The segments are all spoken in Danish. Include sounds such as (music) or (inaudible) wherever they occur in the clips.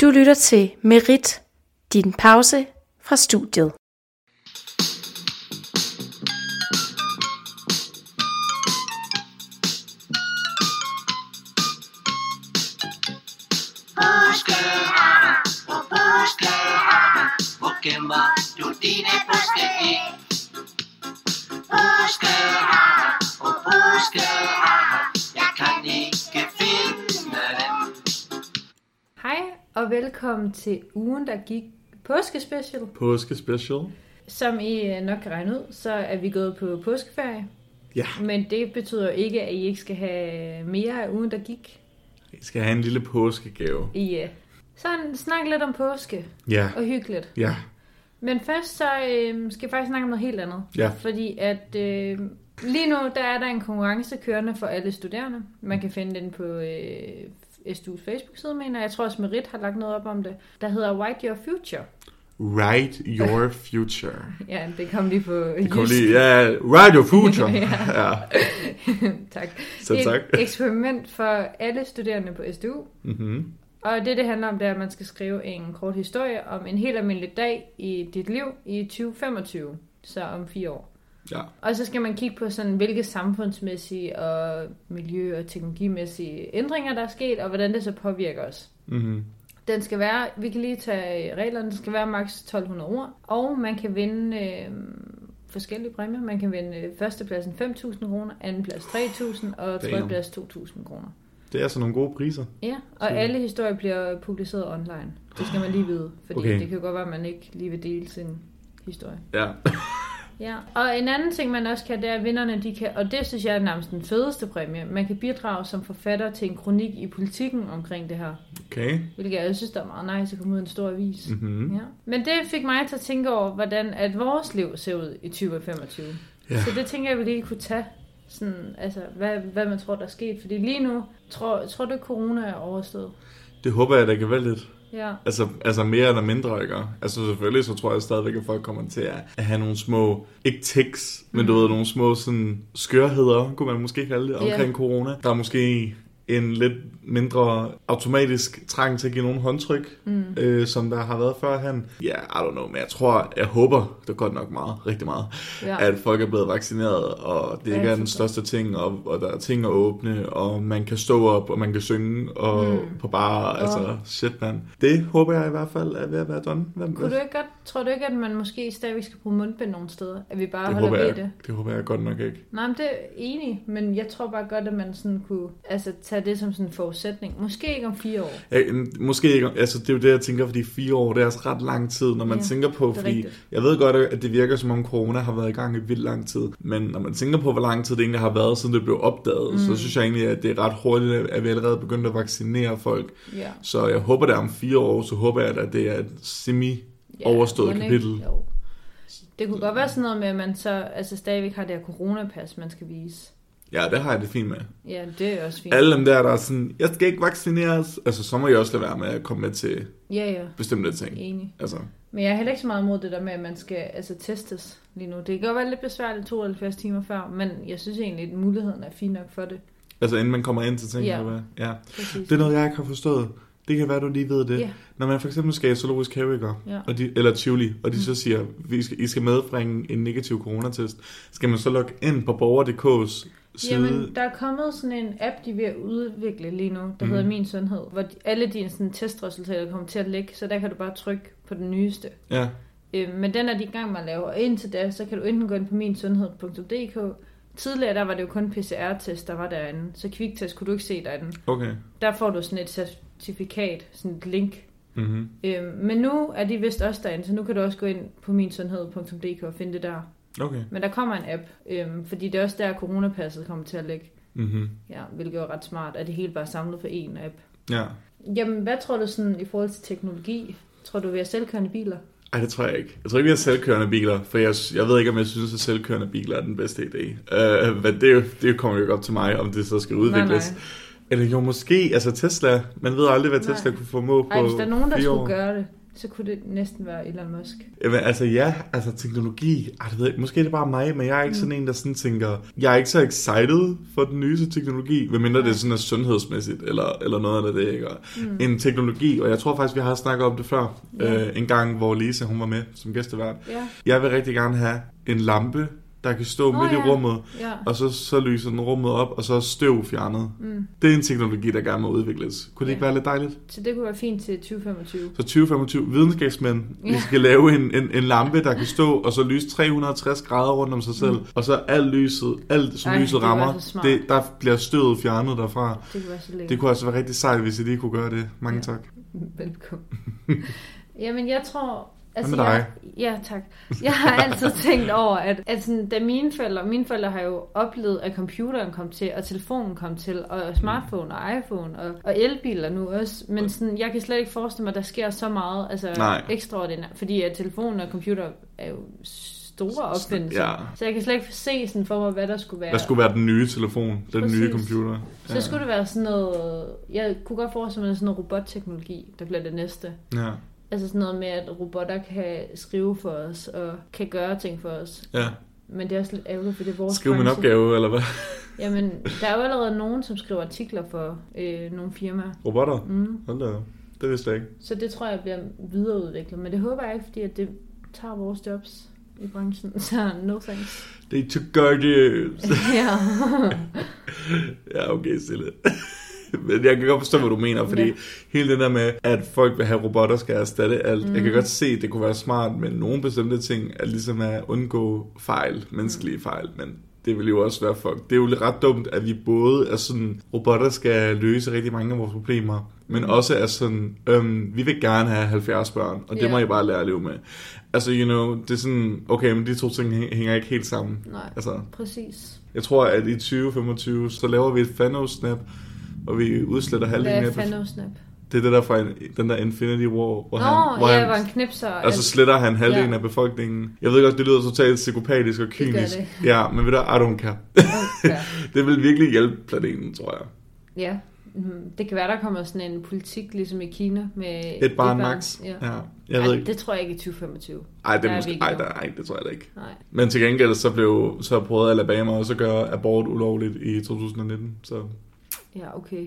Du lytter til Merit, din pause fra studiet. Påskeaber, på påskeaber, hvor gemmer du dine påskeæg? Påskeaber, på påskeaber, jeg kan ikke finde dem. Hej og velkommen til ugen, der gik påskespecial. Påske special. Som I øh, nok kan regne ud, så er vi gået på påskeferie. Ja. Men det betyder jo ikke, at I ikke skal have mere af ugen, der gik. Jeg skal have en lille påskegave. I øh, sådan snakke lidt om påske Ja. og hyggeligt. Ja. Men først så øh, skal jeg faktisk snakke om noget helt andet. Ja. Fordi at øh, lige nu, der er der en konkurrence kørende for alle studerende. Man kan finde den på øh, SDU's Facebook-side, mener jeg. Jeg tror også Merit har lagt noget op om det. Der hedder White Your Future. Write your future. Ja, det kom lige på Det kom jysk. lige, ja, write your future. (laughs) ja. (laughs) tak. Selv Det er tak. (laughs) et eksperiment for alle studerende på SDU. Mm-hmm. Og det, det handler om, det er, at man skal skrive en kort historie om en helt almindelig dag i dit liv i 2025, så om fire år. Ja. Og så skal man kigge på, sådan, hvilke samfundsmæssige og miljø- og teknologimæssige ændringer, der er sket, og hvordan det så påvirker os. Mm-hmm. Den skal være, vi kan lige tage øh, reglerne, den skal være maks 1200 ord, og man kan vinde øh, forskellige præmier. Man kan vinde øh, førstepladsen 5.000 kroner, andenplads 3.000 og Damn. tredjeplads 2.000 kroner. Det er altså nogle gode priser. Ja, og Så- alle historier bliver publiceret online. Det skal man lige vide, fordi okay. Okay. det kan jo godt være, at man ikke lige vil dele sin historie. Ja. Ja, og en anden ting, man også kan, det er, at vinderne, de kan, og det synes jeg er nærmest den fedeste præmie, man kan bidrage som forfatter til en kronik i politikken omkring det her. Okay. Hvilket jeg synes, der er meget nice at komme ud af en stor avis. Mm-hmm. Ja. Men det fik mig til at tænke over, hvordan at vores liv ser ud i 2025. Ja. Ja. Så det tænker jeg, vi lige kunne tage. Sådan, altså, hvad, hvad man tror, der er sket. Fordi lige nu, tror, tror du, ikke, corona er overstået? Det håber jeg, der kan være lidt. Ja. Altså, altså mere eller mindre, ikke? Altså selvfølgelig, så tror jeg stadigvæk, at folk kommer til at at have nogle små, ikke tics, men du ved, nogle små sådan skørheder, kunne man måske kalde det, Mm. Ja. omkring corona. Der er måske en lidt mindre automatisk trang til at give nogle håndtryk, mm. øh, som der har været førhen. Ja, yeah, I don't know, men jeg tror, jeg håber, det er godt nok meget, rigtig meget, Ja. ja. at folk er blevet vaccineret, og det Ja, ikke er den forstår. største ting, og, og der er ting at åbne, og man kan stå op, og man kan synge og mm. på bar, altså shit mand. Det håber jeg i hvert fald er ved at være done. Hvem, Kunne du ikke godt, tror du ikke, at man måske stadigvæk skal bruge mundbind nogle steder? At vi bare det holder håber ved jeg, det? det håber jeg godt nok ikke. Nej, men det er enig, men jeg tror bare godt, at man sådan kunne altså, tage det som sådan en forudsætning. Måske ikke om fire år. Jeg, mm, måske ikke, altså det er jo det, jeg tænker, fordi fire år, det er altså ret lang tid, når man Ja, ja, tænker på, det er fordi rigtigt. jeg ved godt, at det virker som om corona har været i gang i vildt lang tid, men når man tænker på, hvor lang tid det egentlig har været, siden det blev opdaget, mm. så synes jeg egentlig, at det er ret hurtigt, at vi allerede begyndte at vaccinere folk. Ja. Så jeg håber, det er om fire år, så håber jeg, at det er et semi-overstået mon ja, ikke? kapitel. Jo. Det kunne godt være sådan noget med, at man så altså, stadigvæk har det her coronapas, man skal vise. Ja, det har jeg det fint med. Ja, det er også fint. Alle dem der, der er sådan, jeg skal ikke vaccineres, altså så må jeg også lade være med at komme med til Ja, ja, bestemte ting. enig. Altså, Men jeg er heller ikke så meget imod det der med, at man skal altså, testes lige nu. Det kan godt være lidt besværligt 72 timer før, men jeg synes egentlig, at muligheden er fin nok for det. altså inden man kommer ind til ting. Ja. Ja. Eller hvad? ja. Præcis. Det er noget, jeg ikke har forstået. Det kan være, du lige ved det. Ja. Når man for eksempel skal i zoologisk have, ikke? Ja. Og de, eller Tivoli, og de mm. så siger, vi skal, I skal medbringe en negativ coronatest, skal man så logge ind på borger.dk's side? Jamen, der er kommet sådan en app, de er ved at udvikle lige nu, der mm. Mhm. hedder Min Sundhed, hvor de- alle dine sådan, testresultater kommer til at ligge, så der kan du bare trykke på den nyeste. Ja. Øh, men den er de i gang med at lave, og indtil da, så kan du enten gå ind på minsundhed.dk. Tidligere, der var det jo kun PCR-test, der var derinde, så kviktest kunne du ikke se derinde. Okay. Der får du sådan et certifikat, sådan et link. Mm-hmm. Øh, men nu er de vist også derinde, så nu kan du også gå ind på minsundhed.dk og finde det der. Okay. Men der kommer en app, øh, fordi det er også der, coronapasset kommer til at ligge. Mm-hmm. Ja, hvilket er ret smart, at det hele bare er samlet på én app. Ja. Jamen, hvad tror du sådan i forhold til teknologi? Tror du, vi har selvkørende biler? Ej, det tror jeg ikke. Jeg tror ikke, vi har selvkørende biler, for jeg, jeg ved ikke, om jeg synes, at selvkørende biler er den bedste idé. Øh, men det, er jo, det kommer jo ikke op til mig, om det så skal udvikles. nej. Eller jo, måske, altså Tesla, man ved aldrig, hvad Nej. Tesla kunne formå på Ej, hvis der er nogen, der fire skulle år. gøre det, så kunne det næsten være Elon Musk. Jamen, altså ja, altså teknologi, ah, det ved jeg, ikke. måske er det bare mig, men jeg er Mm. ikke sådan en, der sådan tænker, jeg er ikke så excited for den nyeste teknologi, medmindre det er sådan er sundhedsmæssigt, eller, eller noget af det, ikke? Og mm. en teknologi, og jeg tror faktisk, vi har snakket om det før, Ja. øh, en gang, hvor Lisa, hun var med som gæstevært. Ja, Jeg vil rigtig gerne have en lampe, der kan stå Nå, midt ja. i rummet, ja. og så, så lyser den rummet op, og så er støv fjernet. Mm. Det er en teknologi, der gerne må udvikles. Kunne det ikke Ja. være lidt dejligt? Så det kunne være fint til 2025. Så 2025 videnskabsmænd, ja. Ja. vi skal lave en, en, en lampe, der kan stå og så lyse 360 grader rundt om sig selv, mm. og så alt lyset, alt som Ej, Ej, det lyset var rammer, så smart. det, der bliver støvet fjernet derfra. Det kunne være så lækkert. Det kunne altså være rigtig sejt, hvis I lige kunne gøre det. Mange Ja. ja. tak. (laughs) Velkommen. Jamen, jeg tror... altså, med Jeg, ja, tak. Jeg har (laughs) altid tænkt over, at, at sådan, da mine forældre, mine forældre har jo oplevet, at computeren kom til, og telefonen kom til, og smartphone og iPhone, og, og elbiler nu også. Men sådan, jeg kan slet ikke forestille mig, at der sker så meget altså, Nej. ekstraordinært. Fordi at telefonen og computer er jo store opfindelser. Ja. Så jeg kan slet ikke se sådan for mig, hvad der skulle være. Hvad skulle være den nye telefon, den Præcis. nye computer? Så skulle det være sådan noget... Jeg kunne godt forestille mig, at det er sådan noget robotteknologi, der bliver det næste. ja. Altså sådan noget med, at robotter kan skrive for os og kan gøre ting for os. ja. Men det er også lidt ærgerligt, for det er vores Skriv min branche. opgave, eller hvad? Jamen, der er jo allerede nogen, som skriver artikler for øh, nogle firmaer. Robotter? Mm. Hold da. op. Det vidste jeg ikke. Så det tror jeg bliver videreudviklet. Men det håber jeg ikke, fordi at det tager vores jobs i branchen. (laughs) Så no (laughs) thanks. Det er to gorgeous. ja. Ja, okay, stille. (laughs) Men jeg kan godt forstå, hvad du mener, fordi Ja. ja. hele det der med, at folk vil have robotter, skal erstatte alt. Mhm. Mm. Jeg kan godt se, at det kunne være smart med nogle bestemte ting, at ligesom at undgå fejl, Mm. menneskelige fejl, men det vil jo også være fuck. Det er jo lidt ret dumt, at vi både er sådan, robotter skal løse rigtig mange af vores problemer, Mm. men også er sådan, øhm, vi vil gerne have 70 børn, og det Ja. må I bare lære at leve med. Altså, you know, det er sådan, okay, men de to ting hæ- hænger ikke helt sammen. Nej. Altså, Præcis. jeg tror, at i 2025, så laver vi et Thanos-snap, og vi udsletter Hvad halvdelen er af befolkningen. Fanosnap? Det er det der fra en, den der Infinity War, Nå, hvor han, hvor ja, han, hvor han knipser. og altså alt. sletter han halvdelen Ja. af befolkningen. Jeg ved godt, det lyder totalt psykopatisk og gør kynisk. det. Ja, men ved du, I don't care. Ja. (laughs) det vil virkelig hjælpe planeten, tror jeg. Ja, Mhm. det kan være, der kommer sådan en politik, ligesom i Kina, med Et barn max. Ja. Ja. Jeg ved ikke. det tror jeg ikke i 2025. Ej, det der er er vi måske, ikke ej, nu. der, ej, det tror jeg da ikke. Nej. Men til gengæld så blev så prøvede Alabama også at gøre abort ulovligt i 2019. Så Ja, okay.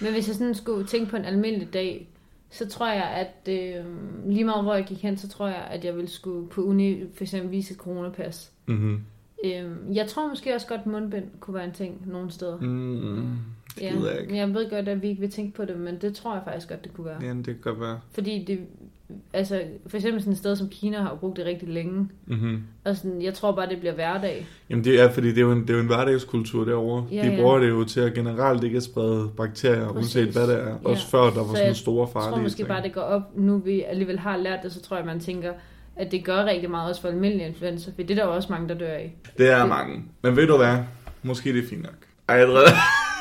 Men hvis jeg sådan skulle tænke på en almindelig dag, så tror jeg, at øh, lige meget hvor jeg gik hen, så tror jeg, at jeg ville skulle på uni for eksempel vise et coronapas. mm-hmm. Øh, jeg tror måske også godt, at mundbind kunne være en ting nogle steder. mm, det gider jeg ikke. men jeg ved godt, at vi ikke vil tænke på det, men det tror jeg faktisk godt, det kunne være. Ja, det kan godt være. Fordi det, altså, for eksempel sådan et sted som Kina har jo brugt det rigtig længe. Mm-hmm. Og sådan, jeg tror bare, det bliver hverdag. Jamen det er, fordi det er jo en, det er jo en hverdagskultur derovre. Ja, Ja, de ja. bruger det jo til at generelt ikke at sprede bakterier, Præcis. Præcis. uanset hvad det er. Også Ja. ja. før der Så var jeg sådan store Jeg tror farlige måske ting. bare, det går op, nu vi alligevel har lært det, så tror jeg, man tænker, at det gør rigtig meget også for almindelig influenza, for det er der jo også mange, der dør af. det er mange. Men ved du hvad? Måske det er fint nok. Ej, (laughs) jeg ved,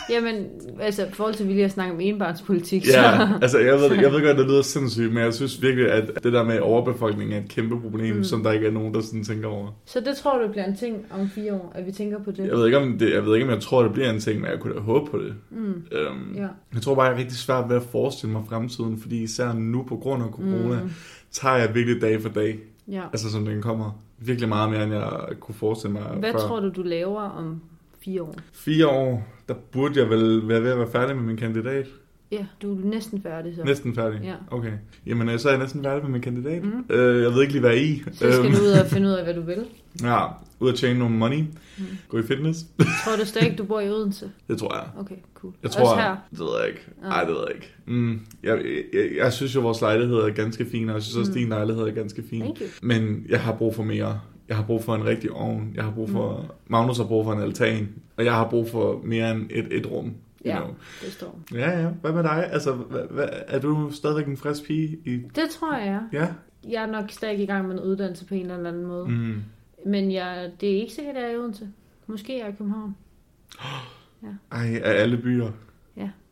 Jamen, altså, i forhold til, at vi lige har snakket om enbarnspolitik, så... (laughs) ja, altså, jeg, ved, jeg ved godt, det lyder sindssygt, men jeg synes virkelig, at det der med overbefolkning er et kæmpe problem, mm. som der ikke er nogen, der sådan tænker over. Så det tror du bliver en ting om fire år, at vi tænker på det. Jeg ved, ikke, om det, jeg ved ikke, om jeg tror, det bliver en ting, men jeg kunne da håbe på det. Mm. Øhm, Ja. Jeg tror bare, jeg er rigtig svært ved at forestille mig fremtiden, fordi især nu på grund af corona, Mm. mm. tager jeg virkelig dag for dag. ja. Altså som den kommer virkelig meget mere, end jeg kunne forestille mig Hvad før. tror du, du laver om fire år? Fire år, der burde jeg vel være ved at være færdig med min kandidat. Ja, du er næsten færdig så. Næsten færdig? Ja. Okay. Jamen, øh, så er jeg næsten færdig med min kandidat. Mm. Øh, jeg ved ikke lige, hvad i. Så skal Øhm, du ud og finde ud af, hvad du vil. Ja, ud at tjene nogle money. Mm. Gå i fitness. (laughs) Tror du stadig, du bor i Odense? det tror jeg. Okay, cool. Jeg tror, Også her. det ved jeg ikke. Ja. Nej, det ved jeg ikke. Mm, jeg, jeg, jeg, jeg synes jo, vores lejlighed er ganske fin, og jeg synes også, Mm. din lejlighed er ganske fin. Thank you. Men jeg har brug for mere. Jeg har brug for en rigtig ovn. Jeg har brug for... Mm. Magnus har brug for en altan. Og jeg har brug for mere end et, et rum. You Ja. ja. Know. Det står. ja, ja. Hvad med dig? Altså, hvad, hvad, er du stadigvæk en frisk pige? I... Det tror jeg, ja. Ja? Jeg er nok stadig i gang med en uddannelse på en eller anden måde. Mm. Mm. Men jeg, det er ikke sikkert, at jeg er i Odense. Måske er jeg i København. Ej, af alle byer.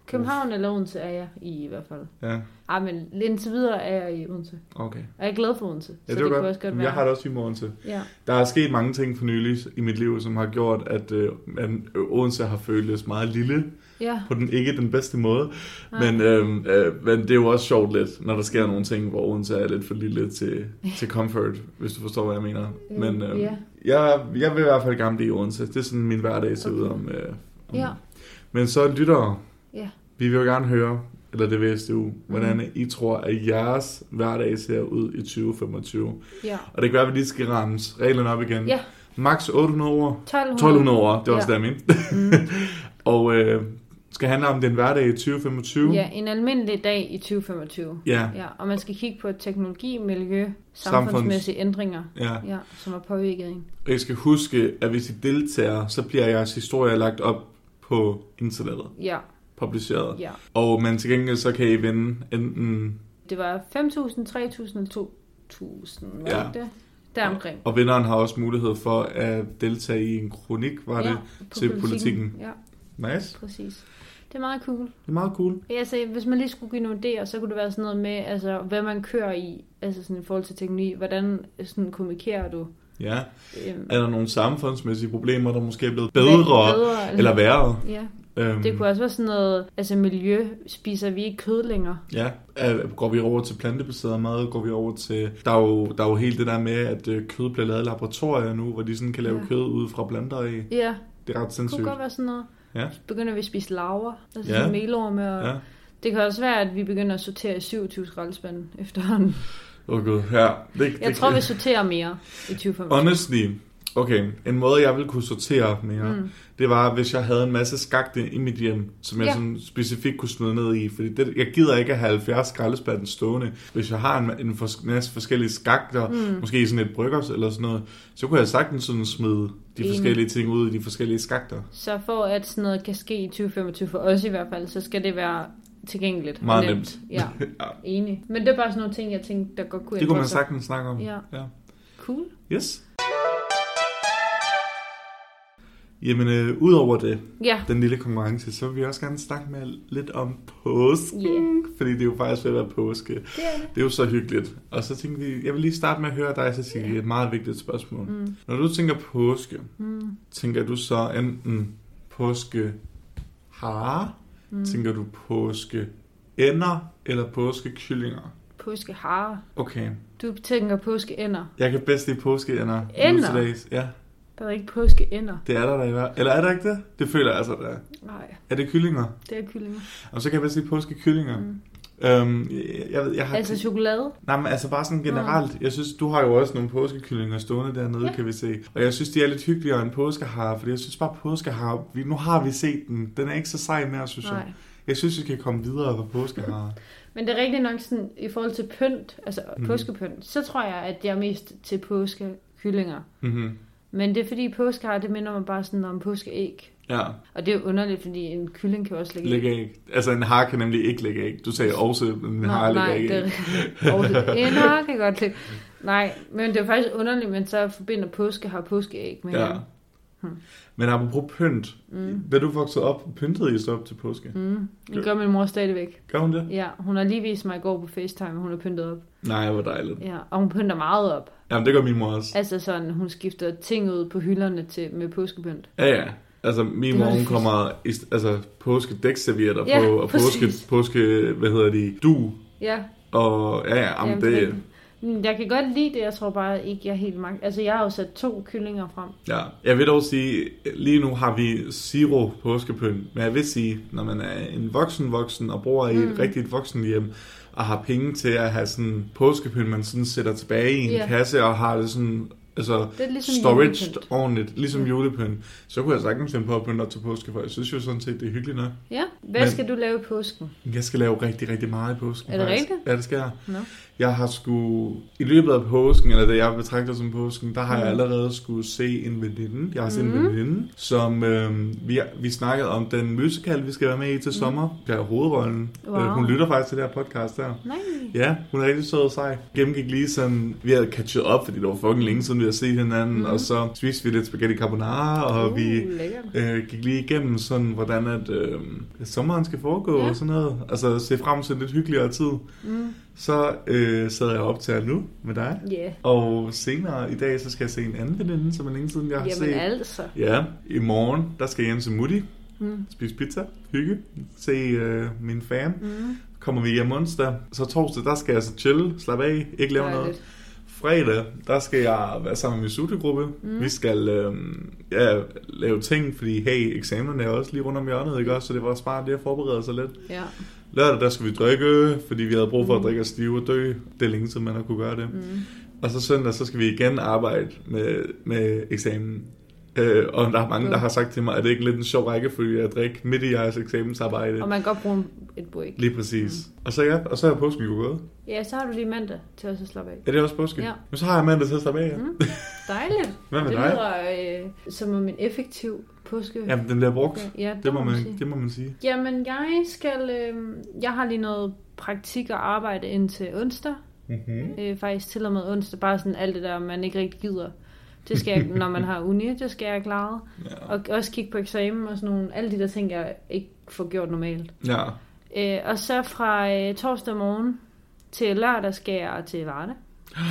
København eller Odense er jeg i, i hvert fald. Ja, Ej, men indtil videre er jeg i Odense. okay. Og jeg er glad for Odense. Ja, så det, var det kunne også godt Jamen, være. Jeg har det også i morgen til. Ja, Der er sket mange ting for nylig i mit liv, som har gjort, at, øh, at Odense har føltes meget lille. Ja. på den ikke den bedste måde. Men, øhm, øh, men det er jo også sjovt lidt, når der sker nogle ting, hvor Odense er lidt for lille til, til comfort, hvis du forstår, hvad jeg mener. Men øhm, Øh, ja. jeg, jeg vil i hvert fald gerne blive i Odense. Det er sådan, min hverdag ser ud om... Øh, om Ja. Men så lyttere, Ja. vi vil jo gerne høre, eller det vil SDU, hvordan Mhm. I tror, at jeres hverdag ser ud i 2025. Ja. Og det kan være, at vi lige skal ramme reglerne op igen. Ja. Max 800 ord. 1200. 1200 ord, det var Ja. Mm. også det, jeg mente. (laughs) og øh, skal handle om din hverdag i 2025. Ja, en almindelig dag i 2025. Ja. Ja, og man skal kigge på teknologi, miljø, Samfunds- samfundsmæssige ændringer, ja. ja, som har påvirket en. Og I skal huske, at hvis I deltager, så bliver jeres historie lagt op på internettet, Ja, publiceret. ja. Og men til gengæld, så kan I vinde enten... Det var 5.000, 3.000 eller 2.000, var Ja. ja. det ikke det? Deromkring. Og vinderen har også mulighed for at deltage i en kronik, var det, ja, på til politikken. Ja, Nice. præcis. Det er meget cool. Det er meget cool. Ja, altså, hvis man lige skulle give nogle idéer, så kunne det være sådan noget med, altså, hvad man kører i, altså sådan i forhold til teknologi. Hvordan sådan kommunikerer du? Ja. Øhm, Er der nogle samfundsmæssige problemer, der måske er blevet bedre, bedre. eller værre? Ja, Øhm, det kunne også være sådan noget, altså miljø, spiser vi ikke kød længere? Ja, Øh, går vi over til plantebaseret mad, går vi over til... Der er jo, der er jo helt det der med, at øh, kød bliver lavet i laboratorier nu, hvor de sådan kan lave ja. Ja. kød ud fra planter Ja, af. Det er ret det kunne sindssygt. godt være sådan noget. Ja. Så begynder vi at spise laver, altså Ja. ja. sådan melorme, og ja. Ja. det kan også være, at vi begynder at sortere i 27 skraldespande efterhånden. Åh oh, gud, ja. Det, Jeg det, tror, vi sorterer mere i 2025. Honestly, okay, en måde, jeg ville kunne sortere mere, mm. det var, hvis jeg havde en masse skakte i mit hjem, som jeg ja. Ja. sådan specifikt kunne smide ned i. Fordi det, jeg gider ikke at have 70 skraldespanden stående. Hvis jeg har en, en for, masse forskellige skakter, mm. måske i sådan et bryggers eller sådan noget, så kunne jeg sagtens sådan smide de Enig. forskellige ting ud i de forskellige skakter. Så for at sådan noget kan ske i 2025, for os i hvert fald, så skal det være tilgængeligt. og Meget nemt. Ja, (laughs) Ja. enig. Men det er bare sådan nogle ting, jeg tænkte, der godt kunne Det kunne man ændre sig. sagtens snakke om. Ja. ja. Cool. Yes. Jamen, øh, udover det, Ja, den lille konkurrence, så vil vi også gerne snakke med jer lidt om påsken. Yeah. Fordi det er jo faktisk ved at være påske. det er det. Det er jo så hyggeligt. Og så tænkte vi, jeg vil lige starte med at høre dig, Cecilie, et meget vigtigt spørgsmål. Mm. Når du tænker påske, mm. tænker du så enten påske hare, mm. tænker du påske ender eller påske kyllinger? Påskehare. Okay, Du tænker påskeænder. jeg kan bedst lide påske ender. Ænder? Ja, Der er ikke påskeænder. det er der da i hvert Eller er der ikke det? Det føler jeg altså, der er. Nej, Er det kyllinger? det er kyllinger. Og så kan jeg bedst lide påskekyllinger. Mm. Øhm, jeg, jeg, ved- jeg har Altså chokolade. Nej, men altså bare sådan generelt. Jeg synes, du har jo også nogle påskekyllinger stående dernede, ja. Ja. kan vi se. Og jeg synes, de er lidt hyggeligere end påskehare, fordi jeg synes bare, påskehare, vi, nu har vi set den. Den er ikke så sej mere, synes jeg. Nej. Jeg synes, vi kan komme videre på (laughs) påskehare. Men det er rigtig nok sådan, i forhold til pynt, altså Mhm. mm. påskepynt, så tror jeg, at jeg er mest til påskekyllinger. mm-hmm. Men det er fordi påskehare, det minder mig bare sådan om påskeæg. Ja, Og det er jo underligt, fordi en kylling kan jo også lægge læg æg. Altså, en har kan nemlig ikke lægge æg. Du sagde også, at en har lægger nej, ikke det er æg. rigtigt. Og det- en hare kan godt lægge. Nej, men det er faktisk underligt, men så forbinder påske har påskeæg med Ja. Hmm. hinanden. Hmm. Men apropos pynt. Mm. Vil du vokset op, pyntede I så op til påske? Mm. Det gør min mor stadigvæk. Gør hun det? Ja, hun har lige vist mig i går på FaceTime, at hun har pyntet op. Nej, hvor dejligt. Ja, og hun pynter meget op. Jamen, det gør min mor også. Altså sådan, hun skifter ting ud på hylderne til, med påskepynt. Ja, ja. Altså, min Det mor, var hun fedt. kommer i st- altså, påskedækservietter Ja, på, og påske, præcis. påske, hvad hedder de, du, Ja, og ja, ja, jamen, Jamen, det, det er rigtigt. men jeg kan godt lide det, jeg tror bare ikke, jeg er helt magt. Altså, jeg har jo sat to kyllinger frem. ja. Jeg vil dog sige, lige nu har vi zero påskepynt, men jeg vil sige, når man er en voksen voksen og bor i Mm. et rigtigt voksen hjem, og har penge til at have sådan påskepynt, man sådan sætter tilbage i en Ja. kasse og har det sådan, altså Det er ligesom storaged julepynt. ordentligt, ligesom julepynt, så kunne jeg sagtens finde på at pynte op til påske, for jeg synes jo sådan set, det er hyggeligt nok. Ja, hvad Men- men... skal du lave i påsken? Jeg skal lave rigtig, rigtig meget i påsken. Er det faktisk. rigtigt? Ja, det skal jeg. Nå. Jeg har sgu... I løbet af påsken, eller det jeg betragter som påsken, der har jeg allerede skulle se en veninde. Jeg har set mm. Mhm. en veninde, som øh, vi, vi snakkede om den musical, vi skal være med i til sommer. Der er hovedrollen. Mhm. Wow. Øh, hun lytter faktisk til det her podcast der. Nej. Ja, hun er rigtig sød og sej. Gennemgik lige sådan, vi havde catchet op, fordi det var fucking længe siden, vi havde set hinanden. Mm. Og så spiste vi lidt spaghetti carbonara, og Mhm. Uh, vi lækkert. øh, gik lige igennem sådan, hvordan at, øh, sommeren skal foregå ja. Ja. og sådan noget. Altså se frem til en lidt hyggeligere tid. Mm. Så øh, sad jeg op til her nu med dig. Ja. Og senere i dag, så skal jeg se en anden veninde, som er længe siden, jeg har Jamen set. altså. Ja, i morgen, der skal jeg hjem til Mutti. Mm. Spise pizza, hygge, se øh, min fam. Mm. Kommer vi hjem onsdag. Så torsdag, der skal jeg så chille, slappe af, ikke lave noget. Dejligt. Fredag, der skal jeg være sammen med min studiegruppe. Mm. Vi skal øh, ja, lave ting, fordi hey, eksamenerne er også lige rundt om hjørnet, ikke også? Så det var smart lige at forberede sig lidt. Ja. Lørdag, der skulle vi drikke, fordi vi havde brug for at drikke os stive og dø. Det er længe siden, man har kunne gøre det. Mm. Og så søndag, så skal vi igen arbejde med, med eksamen. Øh, og der er mange, der har sagt til mig, at det ikke er lidt en sjov rækkefølge at drikke midt i jeres eksamensarbejde. Og man kan godt bruge en- et break. Lige præcis. Mm. Og så ja, og så er påsken jo gået. Ja, så har du lige mandag til også at slappe af. Er det også påske? Ja. Men så har jeg mandag til at slappe af, ja. Mm. Dejligt. Hvad med det dig? lyder øh, som om en effektiv påske. (laughs) Jamen, den bliver brugt. Ja, ja, det det, må må man, man sige. det må man sige. Jamen, jeg skal... Øh, jeg har lige noget praktik og arbejde indtil onsdag. Mm-hmm. Øh, faktisk til og med onsdag. Bare sådan alt det der, man ikke rigtig gider. Det skal jeg, (laughs) når man har uni, det skal jeg klare. Ja. Og også kigge på eksamen og sådan nogle... Alle de der ting, jeg ikke får gjort normalt. ja. Øh, og så fra øh, torsdag morgen til lørdag skal jeg til Varde.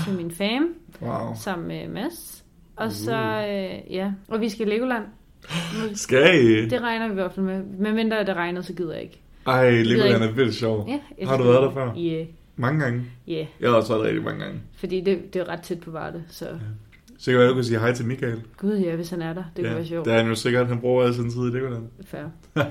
Til min fam. Wow. Sammen med øh, Mads. Uh. Og så, øh, ja. Og vi skal i Legoland. Skal I? Det regner vi i hvert fald med. Men mindre det regner, så gider jeg ikke. Ej, Legoland ikke. er vildt sjov. Ja, jeg har du synes, været det- der før? Ja, yeah, Mange gange. ja. Yeah. Jeg har også været der rigtig mange gange. Fordi det, det er ret tæt på Varde, så Så kan jeg jo kunne sige hej til Michael. gud ja, hvis han er der. Det kunne ja. være sjovt. Det er han jo sikkert, han (laughs) bruger al sin tid i Legoland. Fair.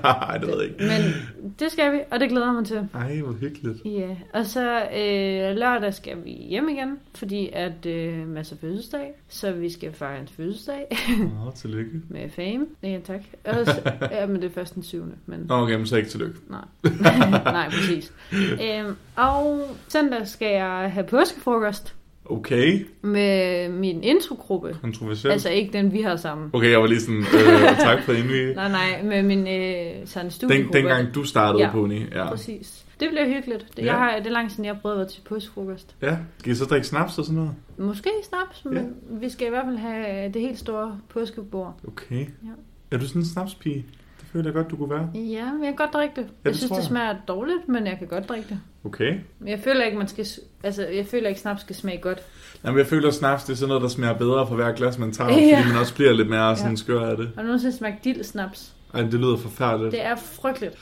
Nej, det ved jeg ikke. Men det skal vi, og det glæder jeg mig til. Ej, hvor hyggeligt. Ja, yeah. og så øh, lørdag skal vi hjem igen, fordi at øh, Mads har fødselsdag, så vi skal fejre hans fødselsdag (laughs) Nå, tillykke. med fame. Ja, tak. Og (laughs) så, ja, men det er først den syvende, men Nå, okay, men så ikke tillykke. Nej, (laughs) nej præcis. Øhm, og søndag skal jeg have påskefrokost Okay, med min introgruppe. kontroversielt. Altså ikke den, vi har sammen. Okay, jeg var lige sådan, (laughs) øh, tak for indvige. Nej, nej, med min øh, sådan Den, studiegruppe. dengang du startede Ja. på uni. Ja. Præcis. Det bliver hyggeligt. Det, Ja. jeg har, det er langt siden, jeg har prøvet at være til påskefrokost. ja. Skal I så drikke snaps og sådan noget? Måske snaps, men vi skal i hvert fald have det helt store påskebord. Okay. Ja. Er du sådan en snapspige? Det føler jeg godt, du kunne være. Ja, men jeg kan godt drikke det. jeg det synes, tror det jeg. smager dårligt, men jeg kan godt drikke det. Okay. Men jeg føler ikke, man skal, s- altså, jeg føler ikke, snaps skal smage godt. Jamen, jeg føler, at snaps det er sådan noget, der smager bedre for hver glas, man tager. Ja. Fordi man også bliver lidt mere sådan Ja. skør af det. Har du nogensinde smagt dild snaps? Ej, det lyder forfærdeligt. Det er frygteligt.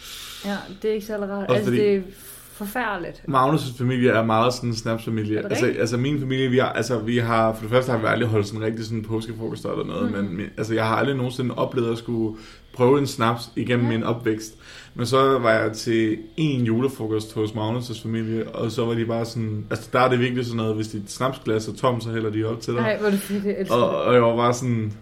Ja, det er ikke særlig rart. Også Altså, fordi- det er forfærdeligt. Magnus' familie er meget sådan en snapsfamilie. Er det Altså, rigtigt? altså min familie, vi har, altså, vi har, for det første har vi aldrig holdt sådan rigtig sådan påskefrokoster eller noget, Mm-hmm. mm. men altså, jeg har aldrig nogensinde oplevet at skulle prøve en snaps igennem min opvækst. Men så var jeg til en julefrokost hos Magnus' familie, og så var de bare sådan, altså der er det virkelig sådan noget, hvis dit snapsglas er tom, så hælder de op til dig. Nej, hvor er det fedt, jeg elsker Og, det. og jeg var bare sådan,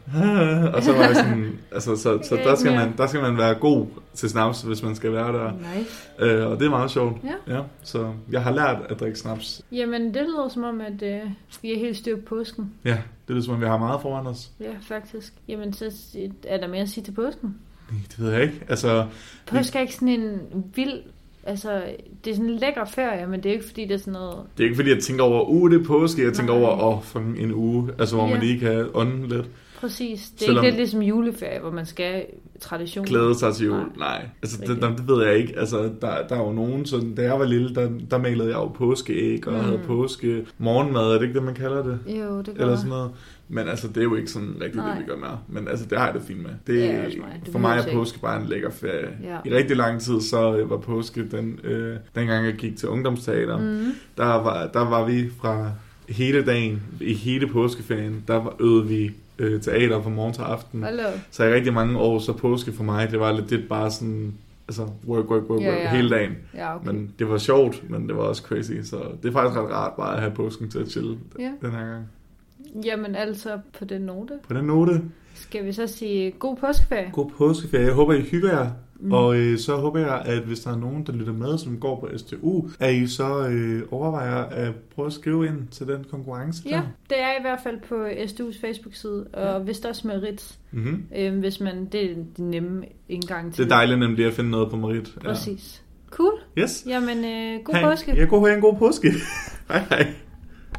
og så var jeg sådan, altså, så, så Ikke der, skal mere. man, der skal man være god til snaps, hvis man skal være der. Nice. Øh, og det er meget sjovt. Ja. ja. Så jeg har lært at drikke snaps. Jamen, det lyder som om, at øh, vi er helt styr på påsken. Ja, det lyder som om, vi har meget foran os. Ja, faktisk. Jamen, så s- er der mere at sige til påsken. Nej, Det ved jeg ikke. Altså, Påske er ikke sådan en vild... Altså, det er sådan en lækker ferie, men det er ikke, fordi det er sådan noget... det er ikke fordi, jeg tænker over, uh, det er påske. Jeg tænker Nej. over, åh, oh, fucking en uge. Altså, hvor Ja. man lige kan ånde lidt. Præcis. Det er Selvom- ikke lidt ligesom juleferie, hvor man skal tradition. Glæde sig til jul. Nej. Nej. Altså, det, Rigtigt. det, det ved jeg ikke. Altså, der, der er jo nogen, sådan, da jeg var lille, der, der malede jeg jo påskeæg, og mm. havde påske morgenmad. Er det ikke det, man kalder det? Jo, det gør Eller sådan noget. Men altså, det er jo ikke sådan rigtigt Nej. Nej. det, vi gør mere. Men altså, det har jeg det fint med. Det, Ja, også mig. Det for behøver mig jeg er ikke. påske bare en lækker ferie. Ja. I rigtig lang tid, så øh, var påske den, øh, dengang jeg gik til ungdomsteater. Mhm. Mm. Der, var, der var vi fra hele dagen, i hele påskeferien, der var, øvede vi øh, teater fra morgen til aften. Hold da op. Så i rigtig mange år, så påske for mig, det var lidt det bare sådan, altså work, work, work, Ja, work, ja. hele dagen. Ja, okay. Men det var sjovt, men det var også crazy, så det er faktisk ret rart bare at have påsken til at chille Ja. den her gang. Jamen, altså, på den note, På den note, skal vi så sige god påskeferie. god påskeferie. Jeg håber, I hygger jer. Mm. Og øh, så håber jeg, at hvis der er nogen, der lytter med, som går på STU, at I så øh, overvejer at prøve at skrive ind til den konkurrence Ja, der. det er i hvert fald på SDU's Facebook-side, og ja. vist også med Ritz, Mm-hmm. øh, hvis man, det er den nemme indgang til Det er dejligt nemlig at finde noget på Merit. Præcis. Cool. Ja. Yes. Jamen, øh, god Ha' en- påske. Ja, god, ha' en god påske. (laughs) hej hej.